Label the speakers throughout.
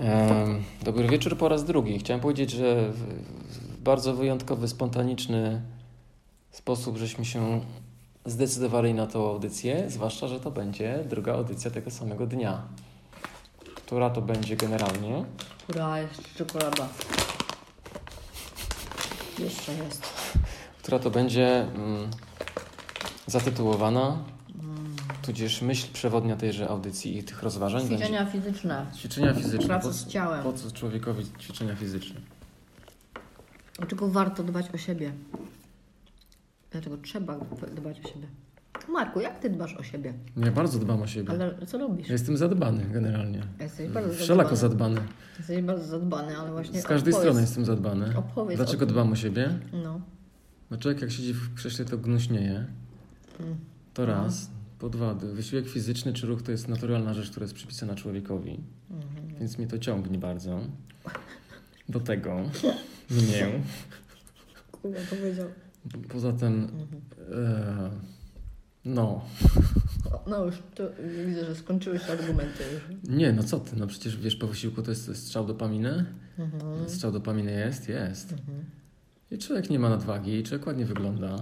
Speaker 1: Em, Dobry wieczór po raz drugi. Chciałem powiedzieć, że w- w bardzo wyjątkowy, spontaniczny sposób żeśmy się zdecydowali na tą audycję, zwłaszcza, że to będzie druga audycja tego samego dnia. Która to będzie generalnie?
Speaker 2: Która jeszcze czekolada. Jeszcze jest.
Speaker 1: która to będzie mm, zatytułowana, tudzież myśl przewodnia tejże audycji i tych rozważań.
Speaker 2: Ćwiczenia fizyczne.
Speaker 1: Będzie... Ćwiczenia fizyczne.
Speaker 2: Praca
Speaker 1: Po-
Speaker 2: z ciałem.
Speaker 1: Po co człowiekowi ćwiczenia fizyczne?
Speaker 2: Dlaczego warto dbać o siebie? Dlaczego trzeba dbać o siebie? Marku, jak ty dbasz o siebie?
Speaker 1: Ja bardzo dbam o siebie.
Speaker 2: Ale co robisz?
Speaker 1: Ja jestem zadbany generalnie.
Speaker 2: Jesteś bardzo
Speaker 1: Wszelako
Speaker 2: zadbany.
Speaker 1: zadbany.
Speaker 2: Jesteś bardzo zadbany, ale właśnie
Speaker 1: Z każdej
Speaker 2: opowiedz-
Speaker 1: strony jestem zadbany.
Speaker 2: opowiedz
Speaker 1: Dlaczego
Speaker 2: o tym.
Speaker 1: dbam o siebie?
Speaker 2: No.
Speaker 1: No człowiek jak siedzi w krześle, to gnuśnieje.
Speaker 2: Mm. No.
Speaker 1: To raz. Po dwa, wysiłek fizyczny czy ruch to jest naturalna rzecz, która jest przypisana człowiekowi.
Speaker 2: Mhm.
Speaker 1: Więc mnie to ciągnie bardzo. Do tego mnie.
Speaker 2: Kurwa, powiedział. Mhm.
Speaker 1: Poza tym, e, no,
Speaker 2: O, No już, to widzę, że skończyły się argumenty już.
Speaker 1: nie, no co ty, no przecież wiesz, po wysiłku to jest, to jest strzał dopaminy.
Speaker 2: Mhm.
Speaker 1: Strzał dopaminy jest, jest. I człowiek nie ma nadwagi, człowiek ładnie wygląda.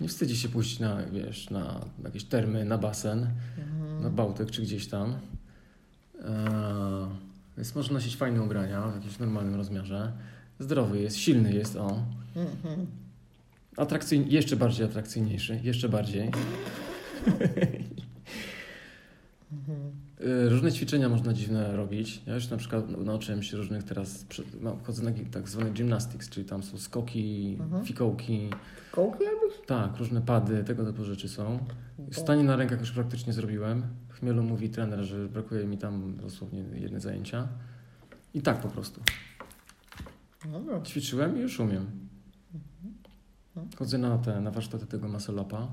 Speaker 1: Nie wstydzi się pójść na, wiesz, na jakieś termy, na basen,
Speaker 2: Mhm.
Speaker 1: na Bałtyk czy gdzieś tam. Eee, więc może nosić fajne ubrania w jakimś normalnym rozmiarze. Zdrowy jest, silny jest, o.
Speaker 2: Mhm.
Speaker 1: Atrakcyjny, jeszcze bardziej atrakcyjniejszy, jeszcze bardziej. Y, Różne ćwiczenia można dziwne robić. Ja już na przykład no, nauczyłem się różnych teraz, przy- no, chodzę na gi- tak zwane gymnastics, czyli tam są skoki, fikołki,
Speaker 2: Kołki robisz?
Speaker 1: tak, różne pady, tego typu rzeczy są. Stanie na rękach już praktycznie zrobiłem. W Chmielu mówi trener, że brakuje mi tam dosłownie jedne zajęcia. I tak po prostu.
Speaker 2: Dobra.
Speaker 1: Ćwiczyłem i już umiem. Chodzę na te, na warsztaty tego muscle upa.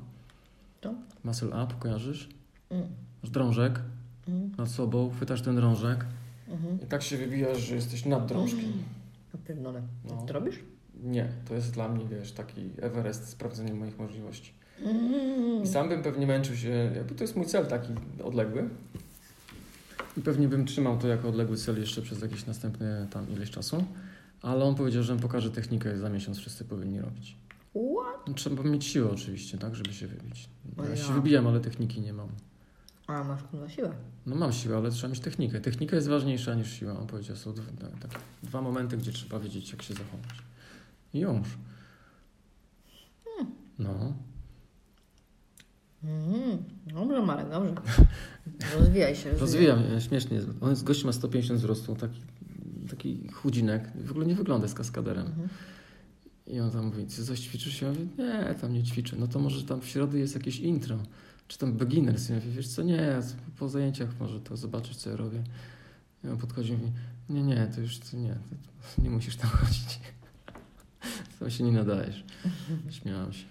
Speaker 2: To?
Speaker 1: Muscle up, kojarzysz?
Speaker 2: Mm.
Speaker 1: Masz drążek
Speaker 2: Mm.
Speaker 1: nad sobą, chwytasz ten drążek.
Speaker 2: Mhm.
Speaker 1: I tak się wybijasz, że jesteś nad drążkiem.
Speaker 2: Ja Pierdolę.
Speaker 1: No.
Speaker 2: To robisz?
Speaker 1: Nie, to jest dla mnie, wiesz, taki Everest, sprawdzenie moich możliwości.
Speaker 2: Mm.
Speaker 1: I sam bym pewnie męczył się, jakby to jest mój cel taki odległy. I pewnie bym trzymał to jako odległy cel jeszcze przez jakieś następne tam ileś czasu. Ale on powiedział, że on pokaże technikę za miesiąc, wszyscy powinni robić.
Speaker 2: What?
Speaker 1: No, Trzeba mieć siłę oczywiście, tak, żeby się wybić. No, ja
Speaker 2: Ojej.
Speaker 1: się wybijam, ale techniki nie mam.
Speaker 2: A masz kurwa siłę.
Speaker 1: No mam siłę, ale trzeba mieć technikę. Technika jest ważniejsza niż siła. On powiedział, są dwa, tak, takie dwa momenty, gdzie trzeba wiedzieć, jak się zachować. I już. No.
Speaker 2: Mhm. Dobrze, Marek, dobrze. Rozwijaj się.
Speaker 1: Rozwijam, się, śmiesznie. jest. On jest, gość ma 150 wzrostu, taki, taki chudzinek. W ogóle nie wygląda z kaskaderem.
Speaker 2: Mhm.
Speaker 1: I on tam mówi, ty coś ćwiczysz? Ja mówię, nie, tam nie ćwiczę. No to może tam w środę jest jakieś intro. Czy tam beginners? Ja mówię, wiesz co, nie, po zajęciach może to zobaczyć, co ja robię. I on podchodzi i mówi, nie, nie, to już ty nie, ty nie musisz tam chodzić. Tam się nie nadajesz. Śmiałam się.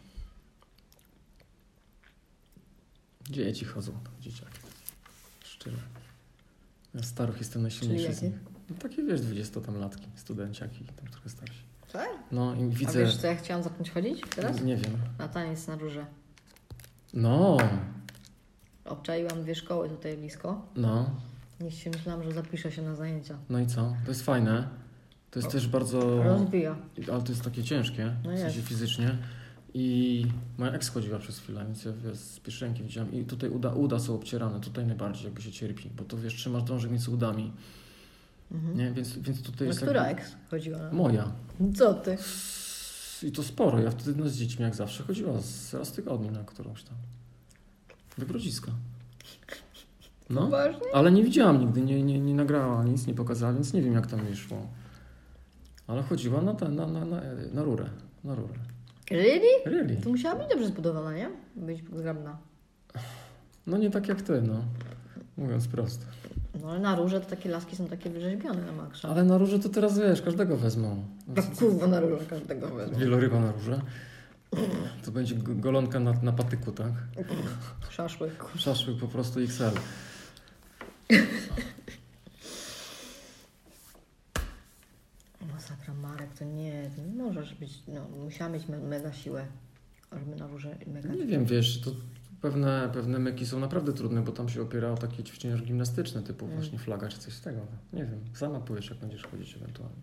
Speaker 1: Dzieci chodzą tam, dzieciaki. Szczerze. Ja starych jestem najsilniejszy
Speaker 2: Czyli
Speaker 1: z nich. No takie wiesz, 20 tam latki, studenciaki, tam trochę starsi.
Speaker 2: Co?
Speaker 1: No i
Speaker 2: Tak? A
Speaker 1: widzę. Mhm.
Speaker 2: wiesz, co ja chciałam zacząć chodzić teraz?
Speaker 1: Nie wiem.
Speaker 2: Na taniec na róże.
Speaker 1: No,
Speaker 2: Obczaiłam dwie szkoły tutaj blisko.
Speaker 1: no,
Speaker 2: Niech się myślałam, że zapiszę się na zajęcia.
Speaker 1: no i co? To jest fajne. To jest też bardzo.
Speaker 2: Rozwija.
Speaker 1: Ale to jest takie ciężkie,
Speaker 2: No
Speaker 1: w sensie
Speaker 2: jest.
Speaker 1: fizycznie. I moja ex chodziła przez chwilę, więc ja wiesz, z pierwszej ręki widziałam. I tutaj uda, uda są obcierane, tutaj najbardziej jakby się cierpi, bo to wiesz, trzymasz drążek między udami.
Speaker 2: Mhm.
Speaker 1: Nie, więc, więc tutaj
Speaker 2: Na
Speaker 1: jest.
Speaker 2: która
Speaker 1: jakby-
Speaker 2: ex chodziła?
Speaker 1: Moja.
Speaker 2: Co ty?
Speaker 1: I to sporo. Ja wtedy no, z dziećmi jak zawsze chodziła z, raz w tygodniu na którąś tam. Do Grodziska. No,
Speaker 2: Poważnie?
Speaker 1: ale nie widziałam nigdy, nie, nie, nie nagrała, nic nie pokazała, więc nie wiem jak tam jej szło. Ale chodziła na, te, na, na, na, na rurę. Na rurę.
Speaker 2: Really?
Speaker 1: Really?
Speaker 2: To musiała być dobrze zbudowana, nie? Być zgrabna.
Speaker 1: No nie tak jak ty, no. Mówiąc prosto.
Speaker 2: No ale na róże to takie laski są takie wyrzeźbione na maksa.
Speaker 1: Ale na rurze to teraz wiesz, każdego wezmą. No,
Speaker 2: Ta kurwa na róże każdego wezmę.
Speaker 1: Wieloryba na rurze. To będzie g- golonka na, na patyku, tak?
Speaker 2: Szaszłyk.
Speaker 1: Szaszłyk po prostu XL.
Speaker 2: Masakra Marek, to nie, to nie możesz być, no musiała mieć me- mega siłę, żeby na róże mega
Speaker 1: Nie wiem, wiesz, to Pewne, pewne myki są naprawdę trudne, bo tam się opiera o takie ćwiczenia już gimnastyczne, typu właśnie flaga czy coś z tego. Nie wiem, sama powiesz, jak będziesz chodzić ewentualnie.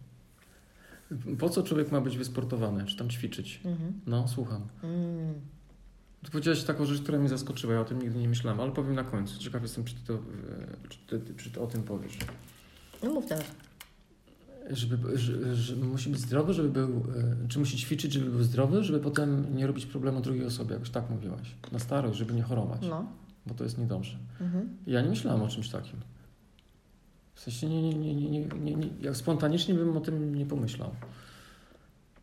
Speaker 1: Po co człowiek ma być wysportowany, czy tam ćwiczyć?
Speaker 2: Mhm.
Speaker 1: No, słucham.
Speaker 2: Mm.
Speaker 1: Ty powiedziałaś taką rzecz, która mnie zaskoczyła, ja o tym nigdy nie myślałem, ale powiem na końcu. Ciekaw jestem, czy ty, to, e, czy ty, ty, czy ty o tym powiesz.
Speaker 2: No mów teraz.
Speaker 1: Żeby, że, że musi być zdrowy, żeby był, e, czy musi ćwiczyć, żeby był zdrowy, żeby potem nie robić problemu drugiej osobie, jakoś tak mówiłaś. Na starość, żeby nie chorować,
Speaker 2: No.
Speaker 1: bo to jest niedobrze.
Speaker 2: Mhm.
Speaker 1: Ja nie myślałem o czymś takim. W sensie nie, nie, nie, nie, nie, nie, nie ja spontanicznie bym o tym nie pomyślał.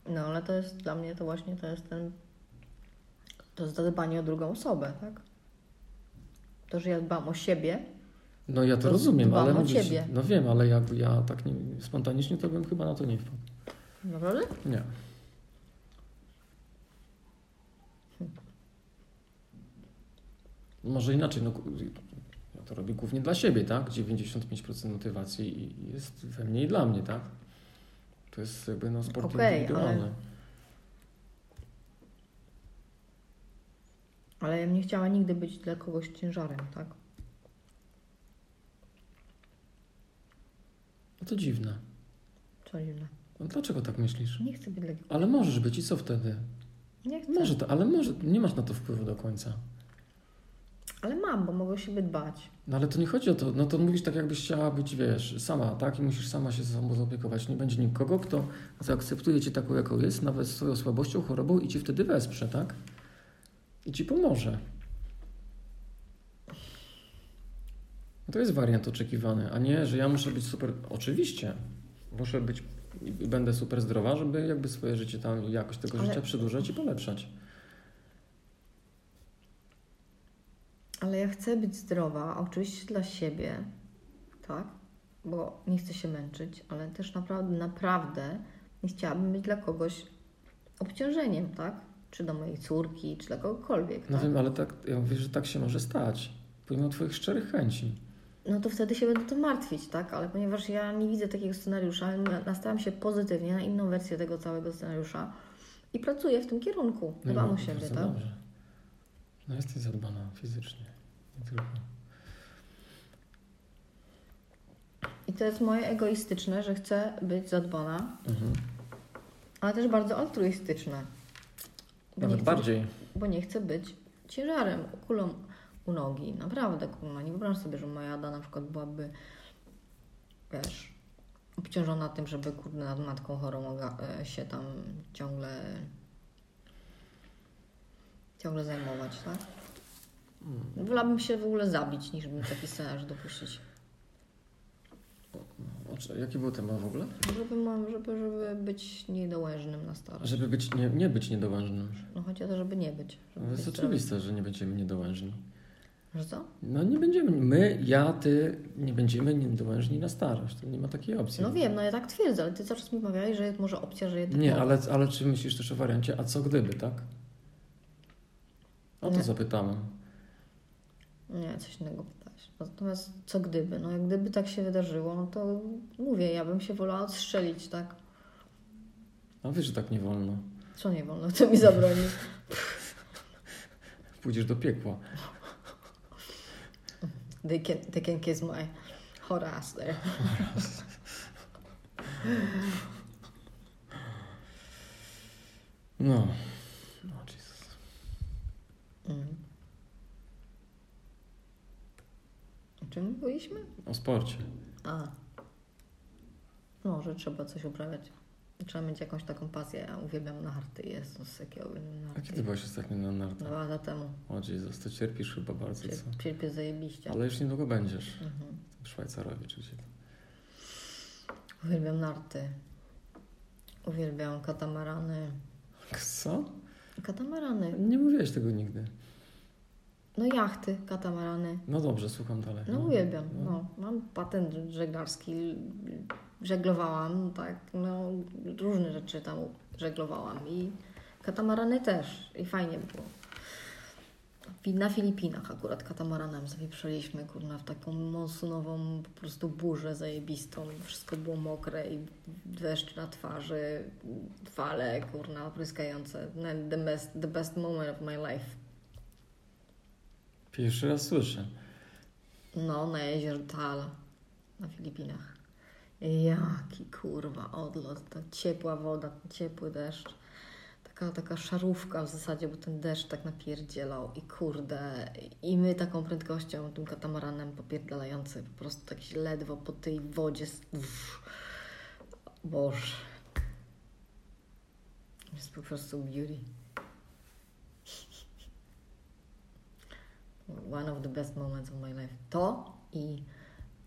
Speaker 2: No ale to jest dla mnie to właśnie to jest ten. To jest zadbanie o drugą osobę, tak? To, że ja dbam o siebie.
Speaker 1: No ja to,
Speaker 2: To
Speaker 1: rozumiem,
Speaker 2: dbam
Speaker 1: ale
Speaker 2: o
Speaker 1: mówię ci-
Speaker 2: ciebie.
Speaker 1: No wiem, ale jakby ja tak nie, spontanicznie to bym chyba na to nie wpadł.
Speaker 2: Naprawdę?
Speaker 1: Nie. Może inaczej, no, ku- ja to robię głównie dla siebie, tak? 95% motywacji i- i jest we mnie i dla mnie, tak? To jest jakby no, sport
Speaker 2: Okej,
Speaker 1: indywidualny.
Speaker 2: ale- Ale ja bym nie chciała nigdy być dla kogoś ciężarem, tak?
Speaker 1: No to dziwne.
Speaker 2: Co dziwne.
Speaker 1: No, dlaczego tak myślisz?
Speaker 2: Nie chcę być dla
Speaker 1: Ale możesz być i co wtedy?
Speaker 2: Nie chcę.
Speaker 1: Może to, ale może nie masz na to wpływu do końca.
Speaker 2: Ale mam, bo mogę o siebie dbać.
Speaker 1: No ale to nie chodzi o to, no to mówisz tak jakbyś chciała być, wiesz, sama, tak? I musisz sama się sobą zaopiekować. Nie będzie nikogo, kto zaakceptuje cię taką, jaką jest, nawet swoją słabością, chorobą i ci wtedy wesprze, tak? I ci pomoże. No to jest wariant oczekiwany, a nie, że ja muszę być super, oczywiście, muszę być i będę super zdrowa, żeby jakby swoje życie tam, jakość tego
Speaker 2: Ale-
Speaker 1: życia przedłużać i polepszać.
Speaker 2: Ale ja chcę być zdrowa, oczywiście dla siebie, tak? Bo nie chcę się męczyć, ale też naprawdę, naprawdę nie chciałabym być dla kogoś obciążeniem, tak? Czy do mojej córki, czy dla kogokolwiek.
Speaker 1: No
Speaker 2: Tak?
Speaker 1: wiem, ale tak, ja mówię, że tak się może stać, pomimo twoich szczerych chęci.
Speaker 2: No to wtedy się będę to martwić, tak? Ale ponieważ ja nie widzę takiego scenariusza, na- nastawiam się pozytywnie na inną wersję tego całego scenariusza i pracuję w tym kierunku.
Speaker 1: No i
Speaker 2: Dbam o
Speaker 1: bardzo
Speaker 2: siebie, tak?
Speaker 1: Dobrze. No jesteś zadbana fizycznie, nie tylko.
Speaker 2: I to jest moje egoistyczne, że chcę być zadbana,
Speaker 1: Mhm.
Speaker 2: ale też bardzo altruistyczne. Bo nie
Speaker 1: Nawet
Speaker 2: chcę-
Speaker 1: bardziej.
Speaker 2: bo nie chcę być ciężarem, kulą u nogi. Naprawdę, kurwa, nie wyobrażam sobie, że moja Ada na przykład byłaby, wiesz, obciążona tym, żeby, kurde, nad matką chorą oga- e, się tam ciągle ciągle zajmować, tak?
Speaker 1: Mm.
Speaker 2: Wolałabym się w ogóle zabić, niż bym taki scenariusz dopuścić.
Speaker 1: O, czy- Jaki był temat w ogóle?
Speaker 2: Żeby, mam, żeby, żeby być niedołężnym na starość.
Speaker 1: Żeby być, nie, nie być niedołężnym.
Speaker 2: No chodzi o to, żeby nie być.
Speaker 1: No,
Speaker 2: Żeby
Speaker 1: To jest
Speaker 2: być zdrowym.
Speaker 1: oczywiste, że nie będziemy niedołężni.
Speaker 2: Że co?
Speaker 1: No nie będziemy, my, ja, ty, nie będziemy niedołężni na starość. To nie ma takiej opcji.
Speaker 2: No wiem, no ja tak twierdzę, ale ty cały czas mi mawiałeś, że jest może opcja, że jednak
Speaker 1: Nie,
Speaker 2: mogę.
Speaker 1: ale, ale czy myślisz też o wariancie, a co gdyby, tak? O to
Speaker 2: Nie.
Speaker 1: zapytałem.
Speaker 2: Nie, coś innego pytałeś. Natomiast co gdyby? No jak gdyby tak się wydarzyło, no to mówię, ja bym się wolała odstrzelić, tak?
Speaker 1: A wiesz, że tak nie wolno.
Speaker 2: Co nie wolno, to mi zabroni.
Speaker 1: Pójdziesz do piekła.
Speaker 2: They can, they can kiss my hot ass there.
Speaker 1: No. No, Jesus.
Speaker 2: Mm. O czym byliśmy?
Speaker 1: O sporcie.
Speaker 2: A. No, że trzeba coś uprawiać. Trzeba mieć jakąś taką pasję. Ja uwielbiam narty. Jezus, jak ja uwielbiam
Speaker 1: A
Speaker 2: narty.
Speaker 1: kiedy byłaś ostatnio na nartach?
Speaker 2: Dwa lata temu.
Speaker 1: O Jezus, to cierpisz chyba bardzo, co?
Speaker 2: Cier- Cierpię zajebiście.
Speaker 1: Ale już niedługo będziesz
Speaker 2: Mhm.
Speaker 1: w Szwajcarowie czy gdzie tam.
Speaker 2: Uwielbiam narty. Uwielbiam katamarany.
Speaker 1: Co?
Speaker 2: Katamarany.
Speaker 1: Nie mówiłeś tego nigdy.
Speaker 2: No jachty, katamarany.
Speaker 1: No dobrze, słucham dalej.
Speaker 2: No uwielbiam. No, mam patent żeglarski. Żeglowałam, tak. No, różne rzeczy tam żeglowałam. I katamarany też. I fajnie było. Fi- Na Filipinach akurat katamaranem zawieprzyliśmy, kurna, w taką monsunową po prostu burzę zajebistą. Wszystko było mokre i deszcz na twarzy, fale, kurna, pryskające. No, The best, the best moment of my life.
Speaker 1: Pierwszy raz słyszę.
Speaker 2: No, na jezioro Tal na Filipinach. Jaki kurwa odlot, ta ciepła woda, ciepły deszcz. Taka, taka szarówka w zasadzie, bo ten deszcz tak napierdzielał i kurde. I my taką prędkością, tym katamaranem popierdalający, po prostu tak się ledwo po tej wodzie. s- Uff. Boże. Jest po prostu beauty. One of the best moments of my life. To i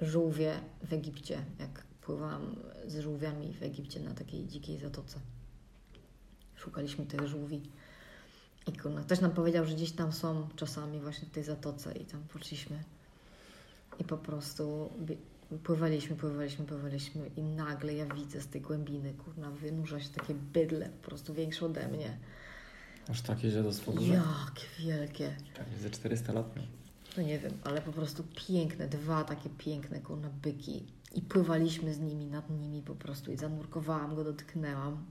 Speaker 2: żółwie w Egipcie, jak pływałam z żółwiami w Egipcie na takiej dzikiej zatoce. Szukaliśmy tych żółwi. I kurna, ktoś nam powiedział, że gdzieś tam są czasami właśnie w tej zatoce i tam poszliśmy. I po prostu bie- pływaliśmy, pływaliśmy, pływaliśmy i nagle ja widzę z tej głębiny, kurna, wynurza się takie bydle, po prostu większe ode mnie.
Speaker 1: Aż tak takie dziadostwo duże.
Speaker 2: Jakie wielkie.
Speaker 1: Pewnie ze 400 lat. miał.
Speaker 2: No nie wiem, ale po prostu piękne, dwa takie piękne kurna byki. I pływaliśmy z nimi, nad nimi po prostu. I zanurkowałam go, dotknęłam.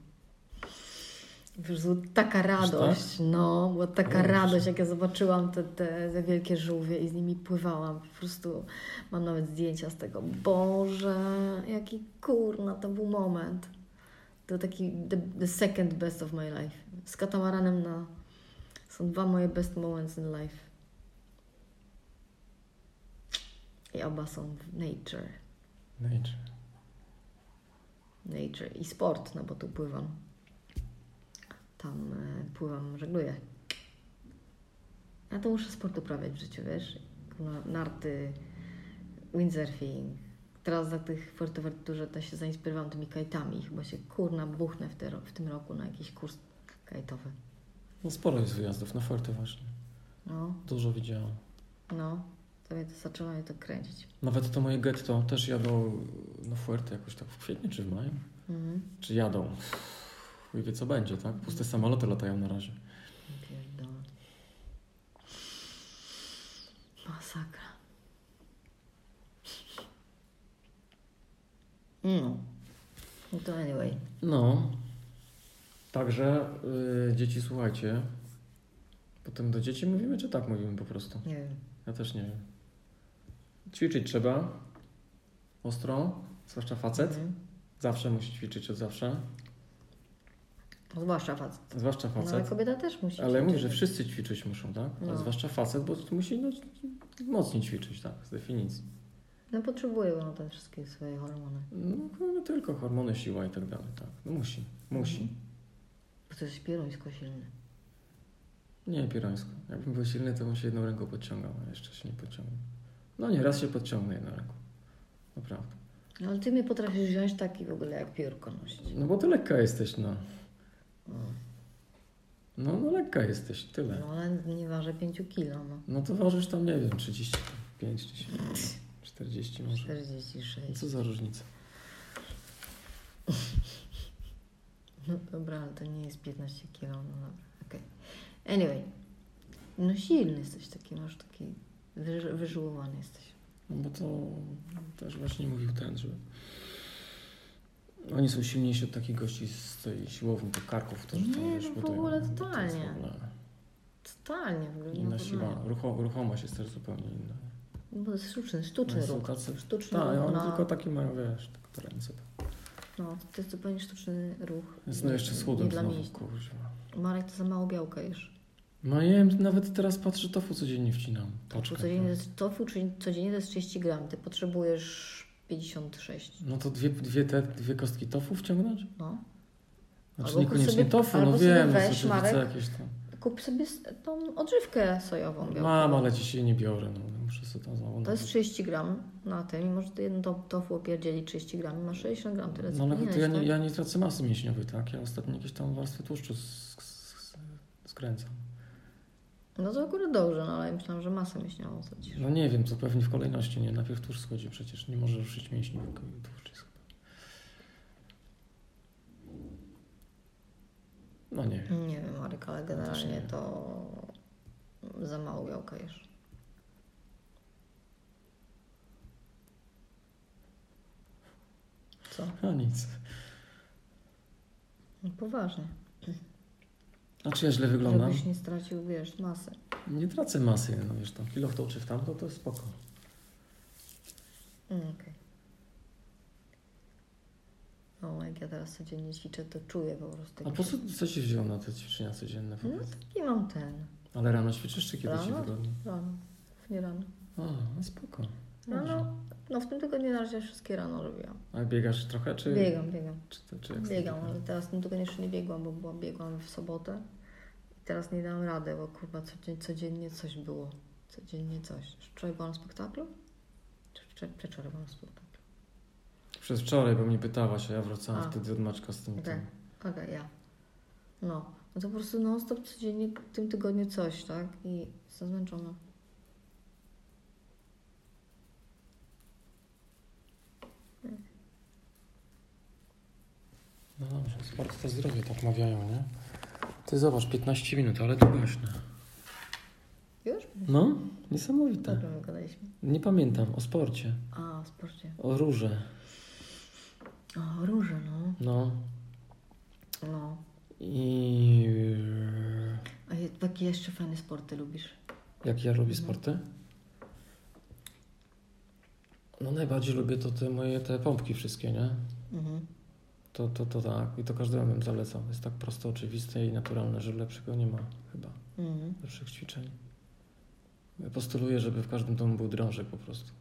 Speaker 2: Wiesz, była taka radość, no, była taka
Speaker 1: Boże.
Speaker 2: radość, jak ja zobaczyłam te, te, te wielkie żółwie i z nimi pływałam. Po prostu mam nawet zdjęcia z tego. Boże, jaki kurna, to był moment. To taki the, the second best of my life. Z katamaranem na... Są dwa moje best moments in life. I oba są w nature.
Speaker 1: No i czy-
Speaker 2: Nature i sport, no bo tu pływam. Tam e, pływam, żegluję. Ja to muszę sport uprawiać w życiu, wiesz? Kurwa, Narty, windsurfing. Teraz na tych Fuerteventurze to się zainspirowałam tymi kajtami. i Chyba się kurna buchnę w, te, ro- w tym roku na jakiś kurs kajtowy.
Speaker 1: No sporo jest wyjazdów na Forte właśnie.
Speaker 2: No,
Speaker 1: Dużo widziałam.
Speaker 2: no. To mnie to zaczęło mnie to kręcić.
Speaker 1: Nawet to moje getto też jadą na Fuerte jakoś tak w kwietniu czy w maju.
Speaker 2: Mhm.
Speaker 1: Czy jadą? Chuj wie co będzie, tak? Puste samoloty latają na razie.
Speaker 2: Pierdolę. Masakra. No. No to anyway.
Speaker 1: No. Także y, dzieci słuchajcie. Potem do dzieci mówimy, czy tak mówimy po prostu?
Speaker 2: Nie wiem.
Speaker 1: Ja też nie wiem. Ćwiczyć trzeba. Ostro. Zwłaszcza facet.
Speaker 2: Mhm.
Speaker 1: Zawsze musi ćwiczyć od zawsze.
Speaker 2: Zwłaszcza facet.
Speaker 1: Zwłaszcza
Speaker 2: No ale
Speaker 1: facet.
Speaker 2: kobieta też musi.
Speaker 1: Ale mówię,
Speaker 2: ćwiczyć.
Speaker 1: że wszyscy ćwiczyć muszą, tak? Ale
Speaker 2: No.
Speaker 1: zwłaszcza facet, bo tu musi no, mocniej ćwiczyć, tak? Z definicji.
Speaker 2: No potrzebuje ona te wszystkie swoje hormony.
Speaker 1: No, no tylko hormony, siła i tak dalej, tak. No musi, musi.
Speaker 2: Bo to jest pieruńsko silny.
Speaker 1: Nie, pierońsko. Jakbym był silny, to bym się jedną ręką podciągał, a jeszcze się nie podciągnął. No nie, raz się podciągnę jedną ręką. Naprawdę.
Speaker 2: No ale ty mnie potrafisz wziąć taki w ogóle jak piórko nosić.
Speaker 1: No bo ty lekka jesteś, no.
Speaker 2: No,
Speaker 1: No, no lekka jesteś, tyle.
Speaker 2: no ale nie waży 5 kilo, no.
Speaker 1: No to ważysz tam, nie wiem, 35 czy 40 może.
Speaker 2: 46.
Speaker 1: Co za różnica?
Speaker 2: No dobra, ale to nie jest 15 kilo, no dobra, okej. Anyway, no silny jesteś taki, masz taki, wyż, wyżułowany jesteś.
Speaker 1: No bo to też właśnie mówił ten, że oni są silniejsi od takich gości z tej siłowni, do karków, którzy tam
Speaker 2: Nie,
Speaker 1: wiesz,
Speaker 2: no w
Speaker 1: budują.
Speaker 2: ogóle
Speaker 1: No to jest
Speaker 2: totalnie.
Speaker 1: w ogóle
Speaker 2: Totalnie w ogóle.
Speaker 1: Inna
Speaker 2: no,
Speaker 1: siła, rucho, ruchomość jest też zupełnie inna.
Speaker 2: No, bo to jest sztuczny, sztuczny
Speaker 1: Oni są
Speaker 2: ruch.
Speaker 1: tacy-
Speaker 2: Sztuczny
Speaker 1: Tak,
Speaker 2: ruch
Speaker 1: oni
Speaker 2: na...
Speaker 1: tylko takie mają, wiesz, tak te ręce.
Speaker 2: No, to jest zupełnie sztuczny ruch.
Speaker 1: Jest no jeszcze schudłem
Speaker 2: Nie dla
Speaker 1: znowu,
Speaker 2: mięśni.
Speaker 1: kurwa.
Speaker 2: Marek, to za mało białka jesz.
Speaker 1: No ja jem, nawet teraz patrzę, tofu codziennie wcinam. Paczkę.
Speaker 2: Codziennie to jest tofu, czyli codziennie to jest 30 gram, ty potrzebujesz 56.
Speaker 1: No to dwie, dwie, te, dwie kostki tofu wciągnąć?
Speaker 2: No.
Speaker 1: Znaczy
Speaker 2: Albo
Speaker 1: niekoniecznie
Speaker 2: sobie-
Speaker 1: tofu,
Speaker 2: albo
Speaker 1: no
Speaker 2: sobie
Speaker 1: wiem,
Speaker 2: weź,
Speaker 1: oczywiście
Speaker 2: Marek.
Speaker 1: jakieś tam.
Speaker 2: Kup sobie s- tą odżywkę sojową białkową.
Speaker 1: Mam, ale dzisiaj nie biorę, no muszę sobie tam znowu...
Speaker 2: To jest 30 gram na tym i może to jedno to- tofu opierdzieli 30 gram i masz 60 gram, tyle
Speaker 1: No
Speaker 2: co
Speaker 1: ale
Speaker 2: powinieneś,
Speaker 1: to ja nie,
Speaker 2: tak?
Speaker 1: ja nie tracę masy mięśniowej, tak? Ja ostatnio jakieś tam warstwy tłuszczu s- s- s- skręcam.
Speaker 2: No to akurat dobrze, no ale ja myślałam, że masę mięśniową stracisz.
Speaker 1: No nie wiem, to pewnie w kolejności, nie? Najpierw tłuszcz schodzi przecież, nie może ruszyć mięśni, tylko tłuszcz jest chyba. No nie wiem.
Speaker 2: Nie wiem Marek, ale generalnie
Speaker 1: nie.
Speaker 2: to za mało białka jesz. Co?
Speaker 1: A nic.
Speaker 2: No poważnie.
Speaker 1: A czy ja źle wyglądam? Znaczy,
Speaker 2: Żebyś nie stracił, wiesz, masy.
Speaker 1: nie tracę masy, no wiesz, tam kilo w to czy w tamto, to jest spoko.
Speaker 2: Mm, Okej. No, jak ja teraz codziennie ćwiczę, to czuję po prostu.
Speaker 1: A
Speaker 2: jak
Speaker 1: po
Speaker 2: się-
Speaker 1: co, co ci wzięło na te ćwiczenia codzienne?
Speaker 2: No
Speaker 1: Powiedz?
Speaker 2: taki mam ten.
Speaker 1: Ale rano ćwiczysz czy kiedy ci
Speaker 2: Rano?
Speaker 1: wygodnie?
Speaker 2: Rano. Nie rano.
Speaker 1: A, no spoko. Dobrze.
Speaker 2: Rano. No w tym tygodniu na razie wszystkie rano robiłam.
Speaker 1: A biegasz trochę, czy...
Speaker 2: Biegam, biegam.
Speaker 1: Czy, to- czy jak
Speaker 2: Biegam,
Speaker 1: sobie-
Speaker 2: ale teraz w tym tygodniu jeszcze nie biegłam, bo byłam, biegłam w sobotę i teraz nie dałam rady, bo kurwa codziennie, codziennie coś było. Codziennie coś. Wczoraj byłam na spektaklu? Czy wczor- Przedwczoraj byłam na spektaklu.
Speaker 1: Przez wczoraj, bo mnie pytałaś, a ja wracałam
Speaker 2: A.
Speaker 1: wtedy od Maćka z tym.
Speaker 2: Okej.
Speaker 1: tym.
Speaker 2: Okej, ja. No. No to po prostu non stop codziennie w tym tygodniu coś, tak? I jestem zmęczona.
Speaker 1: No dobrze, sport to zdrowie, tak mawiają, nie? Ty zobacz, 15 minut, ale to głośno.
Speaker 2: Już?
Speaker 1: No, niesamowite.
Speaker 2: Dobrze my gadaliśmy.
Speaker 1: Nie pamiętam, o sporcie,
Speaker 2: A, spójrzcie.
Speaker 1: o róże,
Speaker 2: O, róże, no.
Speaker 1: no.
Speaker 2: No.
Speaker 1: I...
Speaker 2: A je- jakie jeszcze fajne sporty lubisz?
Speaker 1: Jak ja lubię sporty? No najbardziej lubię to te moje, te pompki wszystkie, nie?
Speaker 2: Mhm.
Speaker 1: To, to, to tak. I to każdemu bym zalecał. Jest tak prosto oczywiste i naturalne, że lepszego nie ma chyba.
Speaker 2: Mhm.
Speaker 1: Lepszych ćwiczeń. Ja postuluję, żeby w każdym domu był drążek po prostu.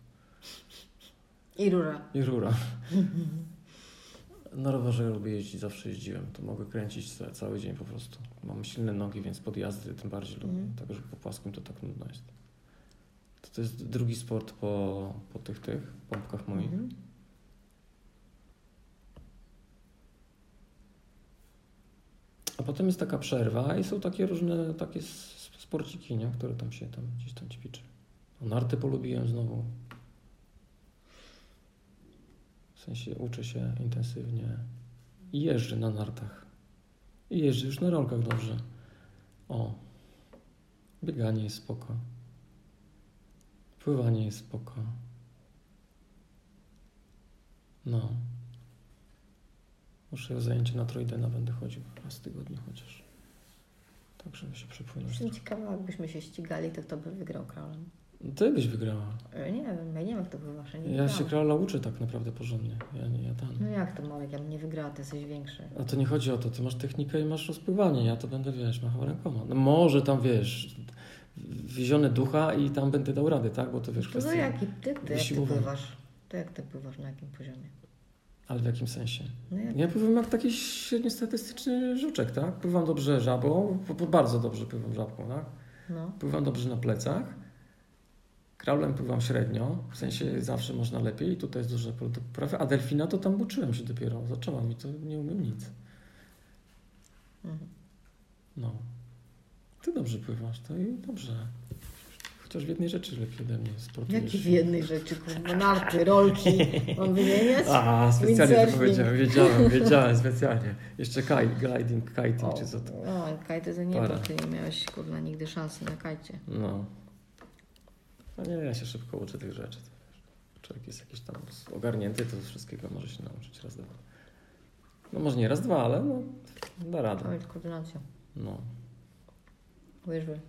Speaker 2: I róża.
Speaker 1: I rura. Na rowerze lubię jeździć, zawsze jeździłem. To mogę kręcić ca- cały dzień po prostu. Mam silne nogi, więc podjazdy tym bardziej lubię.
Speaker 2: Mhm.
Speaker 1: Także po płaskim to tak nudno jest. To, to jest drugi sport po, po tych tych pompkach moich.
Speaker 2: Mhm.
Speaker 1: A potem jest taka przerwa i są takie różne takie s- sporciki, nie? które tam się tam gdzieś tam ćwiczy. No, Narty polubiłem znowu. W sensie uczę się intensywnie. I jeżdżę na nartach. I jeżdżę już na rolkach dobrze. O. Bieganie jest spoko. Pływanie jest spoko. No. Muszę o zajęcie na Trojdena będę chodził raz w tygodniu chociaż. Tak, żeby się przepłynąć.
Speaker 2: Jestem ciekawa, jakbyśmy się ścigali, to kto by wygrał królem?
Speaker 1: Ty byś wygrała.
Speaker 2: E, Nie wiem, ja nie wiem, kto by właśnie nie
Speaker 1: Ja
Speaker 2: wygrał.
Speaker 1: się Krala uczę tak naprawdę porządnie. Ja nie, ja
Speaker 2: No
Speaker 1: tam.
Speaker 2: jak to, Marek, ja bym nie wygrała, ty jesteś większy.
Speaker 1: A to nie chodzi o to, ty masz technikę i masz rozpływanie, ja to będę, wiesz, machał rękoma. No może tam, wiesz, wyziony ducha i tam będę dał radę, tak? Bo to wiesz,
Speaker 2: No To za
Speaker 1: kwestia...
Speaker 2: jaki, ty, ty jak ty
Speaker 1: wysiłowania.
Speaker 2: pływasz? To jak ty pływasz, na jakim poziomie?
Speaker 1: Ale w jakim sensie?
Speaker 2: No jak,
Speaker 1: Ja pływam jak taki średniostatystyczny żuczek, tak? Pływam dobrze żabą, bo- bo bardzo dobrze pływam żabką, tak?
Speaker 2: no.
Speaker 1: Pływam dobrze na plecach. Kraulem pływam średnio, w sensie zawsze można lepiej, tutaj jest dużo pole do poprawy, a delfina to tam uczyłem się dopiero, zaczęłam i to nie umiem nic.
Speaker 2: Mhm.
Speaker 1: No. Ty dobrze pływasz, to i dobrze. Chociaż w jednej rzeczy lepiej ode mnie sportujesz.
Speaker 2: Jaki w jednej rzeczy, kurwa, narty, rolki, mam wymieniać?
Speaker 1: A, specjalnie to
Speaker 2: Windsurfing.
Speaker 1: powiedziałem, wiedziałem, wiedziałem specjalnie. Jeszcze kaj, gliding, kiting czy co to.
Speaker 2: No, kajty za niebo,
Speaker 1: Para.
Speaker 2: ty nie miałeś, kurwa, nigdy szansy na kajcie.
Speaker 1: No. No nie, ja się szybko uczę tych rzeczy. to wiesz. Człowiek jest jakiś tam ogarnięty, to wszystkiego może się nauczyć raz, dwa. No może nie raz, dwa, ale no, da
Speaker 2: Trzeba
Speaker 1: radę.
Speaker 2: mieć koordynację,
Speaker 1: No.
Speaker 2: łyżwy.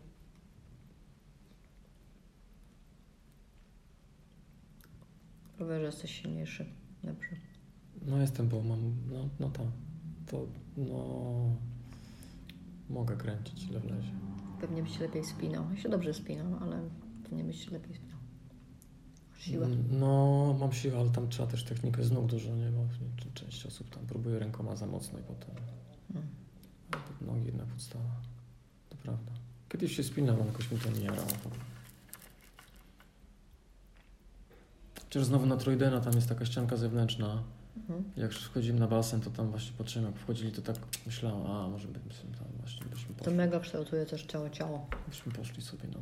Speaker 2: Rowerze jesteś silniejszy, lepszy.
Speaker 1: No jestem, bo mam, no, no tam. To, no... Mogę kręcić, ile wlezie.
Speaker 2: Pewnie byś się lepiej spinał. Ja się dobrze spinam, ale pewnie byś się lepiej spinał. Siła.
Speaker 1: No, mam siłę, ale tam trzeba też technikę z nóg dużo, nie? Bo nie- część osób tam próbuje rękoma za mocno i potem...
Speaker 2: Mm.
Speaker 1: Ale pod nogi jednak podstawa. To prawda. Kiedyś się spinałem, ale jakoś mi to nie jarało. Chociaż znowu na Trojdena tam jest taka ścianka zewnętrzna.
Speaker 2: Mhm.
Speaker 1: Jak już wchodzimy na basen, to tam właśnie patrzyłem, jak wchodzili, to tak myślałem, a może bym sobie tam właśnie byśmy
Speaker 2: To
Speaker 1: poszli,
Speaker 2: mega kształtuje też całe ciało.
Speaker 1: byśmy poszli sobie na to.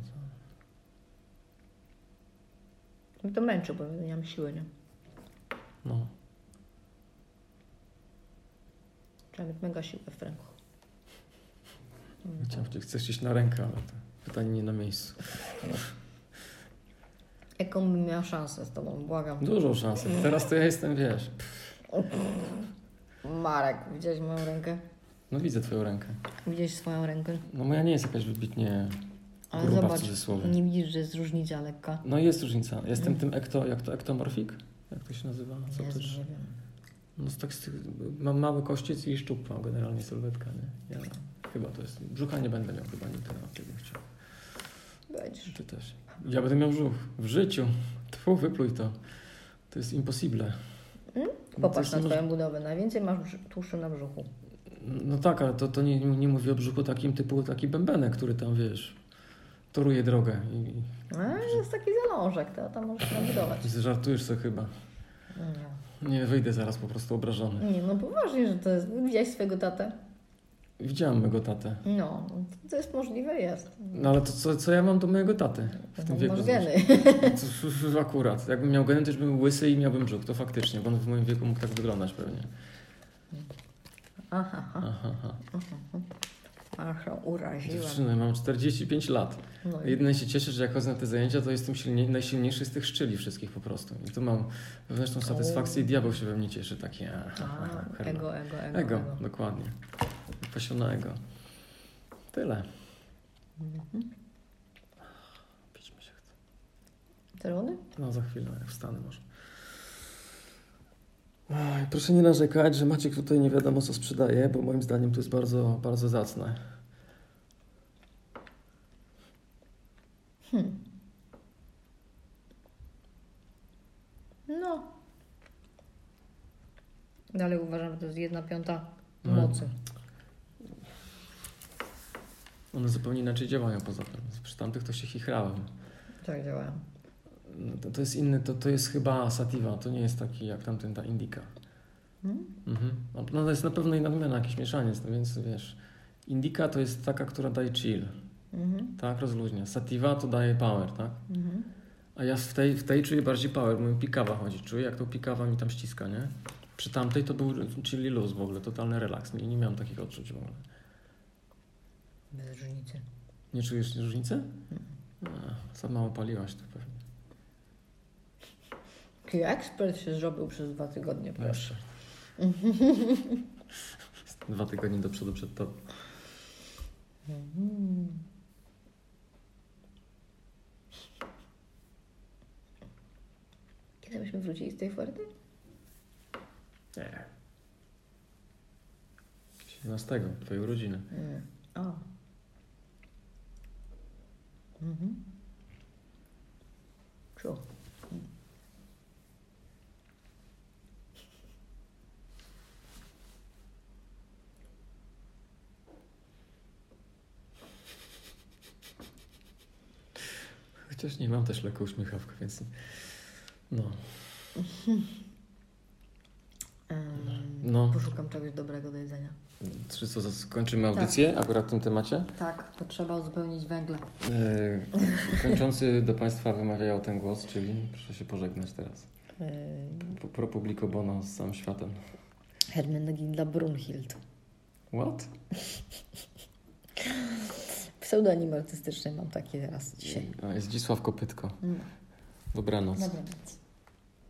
Speaker 2: Mnie to męczy, bo ja nie mam siły, nie?
Speaker 1: No,
Speaker 2: Trzeba mieć mega siłę w ręku. Mm.
Speaker 1: chciałem powiedzieć, chcesz iść na rękę, ale to pytanie nie na miejscu.
Speaker 2: Jaką bym miała szansę z tobą, błagam.
Speaker 1: Dużą szansę.
Speaker 2: Mm.
Speaker 1: Teraz to ja jestem, wiesz.
Speaker 2: Marek, widziałeś moją rękę?
Speaker 1: No widzę twoją rękę.
Speaker 2: Widziałeś swoją rękę?
Speaker 1: No moja nie jest jakaś wybitnie
Speaker 2: Ale
Speaker 1: Gruba w
Speaker 2: zobacz,
Speaker 1: cudzysłowie.
Speaker 2: nie widzisz, że jest różnica lekka?
Speaker 1: No jest różnica. Jestem tym ekto, jak to ektomorfik? Jak to się nazywa? Co
Speaker 2: Jezu,
Speaker 1: to jest?
Speaker 2: Mm. nie wiem.
Speaker 1: No z tak z tych, mam mały kościec i szczup mam generalnie sylwetka, nie? Ja chyba to jest. Brzucha nie będę miał chyba nigdy, no, kiedy bym chciał.
Speaker 2: Będziesz.
Speaker 1: Ty też. Ja będę miał brzuch. W życiu. Tfu, wypluj to. To jest impossible. No, to
Speaker 2: Mm? Popatrz
Speaker 1: jest
Speaker 2: na
Speaker 1: niemoż-
Speaker 2: swoją budowę. Najwięcej masz brz- tłuszczu na brzuchu.
Speaker 1: No tak, ale to, to nie, nie mówię o brzuchu takim typu taki bębenek, który tam, wiesz, toruje drogę i,
Speaker 2: A, jest taki zalążek, to tam możesz nabudować.
Speaker 1: i żartujesz sobie chyba.
Speaker 2: Nie.
Speaker 1: Nie, wyjdę zaraz po prostu obrażony.
Speaker 2: nie, no poważnie, że to jest... Widziałeś swojego tatę?
Speaker 1: Widziałem mego tatę.
Speaker 2: No, to- to jest możliwe, jest.
Speaker 1: No ale to co, co ja mam do mojego taty w tym
Speaker 2: No,
Speaker 1: wieku? No,
Speaker 2: masz
Speaker 1: znowu?
Speaker 2: geny.
Speaker 1: To- to Akurat. Jakbym miał geny, też bym łysy i miałbym brzuch, to faktycznie, bo on w moim wieku mógł tak wyglądać pewnie.
Speaker 2: Aha, aha,
Speaker 1: Aha, aha.
Speaker 2: aż się uraziłem.
Speaker 1: No. Dziewczyny, mam 45 lat.
Speaker 2: No i
Speaker 1: Jedyne się cieszę, że jak chodzę na te zajęcia, to jestem silniej, najsilniejszy z tych szczyli wszystkich po prostu. I tu mam wewnętrzną satysfakcję i diabeł się we mnie cieszy. Takie a,
Speaker 2: A,
Speaker 1: herba.
Speaker 2: ego, ego, ego.
Speaker 1: Ego,
Speaker 2: ego.
Speaker 1: dokładnie. Pasiona ego. Tyle. Pić mi się chce.
Speaker 2: Czerwony?
Speaker 1: No za chwilę, jak wstanę może. Oj, proszę nie narzekać, że Maciek tutaj nie wiadomo co sprzedaje, bo moim zdaniem to jest bardzo, bardzo zacne.
Speaker 2: No. Dalej uważam, że to jest jedna piąta
Speaker 1: Mm.
Speaker 2: mocy.
Speaker 1: One zupełnie inaczej działają poza tym. Przy tamtych to się chichrałem.
Speaker 2: Tak działają.
Speaker 1: No To, to jest inny, to, to jest chyba sativa, to nie jest taki jak tamten ta indika.
Speaker 2: Hmm?
Speaker 1: Mhm. No, No to jest na pewno inna odmiana, jakiś mieszaniec, no więc wiesz. Indika to jest taka, która daje chill,
Speaker 2: Mhm.
Speaker 1: tak, rozluźnia. Sativa to daje power, tak?
Speaker 2: Mhm.
Speaker 1: A ja w tej, w tej czuję bardziej power, bo mi pikawa chodzi, czuję jak to pikawa mi tam ściska, nie? Przy tamtej to był chilli luz w ogóle, totalny relaks, nie, nie miałem takich odczuć w ogóle.
Speaker 2: Bez różnicy.
Speaker 1: Nie czujesz różnicy? A, za mało paliłaś to pewnie.
Speaker 2: Taki ekspert się zrobił przez dwa tygodnie, proszę.
Speaker 1: Proszę. Dwa tygodnie do przodu przed to.
Speaker 2: Mhm. Kiedy byśmy wrócili z tej fuerty?
Speaker 1: Nie. 17, twojej urodziny.
Speaker 2: Mm. O. Mhm. Czu.
Speaker 1: Chociaż nie mam też lekko uśmiechawkę, więc. No.
Speaker 2: Em,
Speaker 1: No.
Speaker 2: Poszukam czegoś dobrego do jedzenia.
Speaker 1: Czy co, za- skończymy audycję akurat w tym temacie?
Speaker 2: Tak, to trzeba uzupełnić węgle.
Speaker 1: Yy, kończący do Państwa wymawiał ten głos, czyli proszę się pożegnać teraz. Po- Pro publico bono z całym światem.
Speaker 2: Hermenegilda Brunhild.
Speaker 1: What?
Speaker 2: Pseudonim artystyczny mam taki teraz dzisiaj.
Speaker 1: A, Jest Dzisław Kopytko.
Speaker 2: Mm.
Speaker 1: Dobranoc.
Speaker 2: Dobranoc.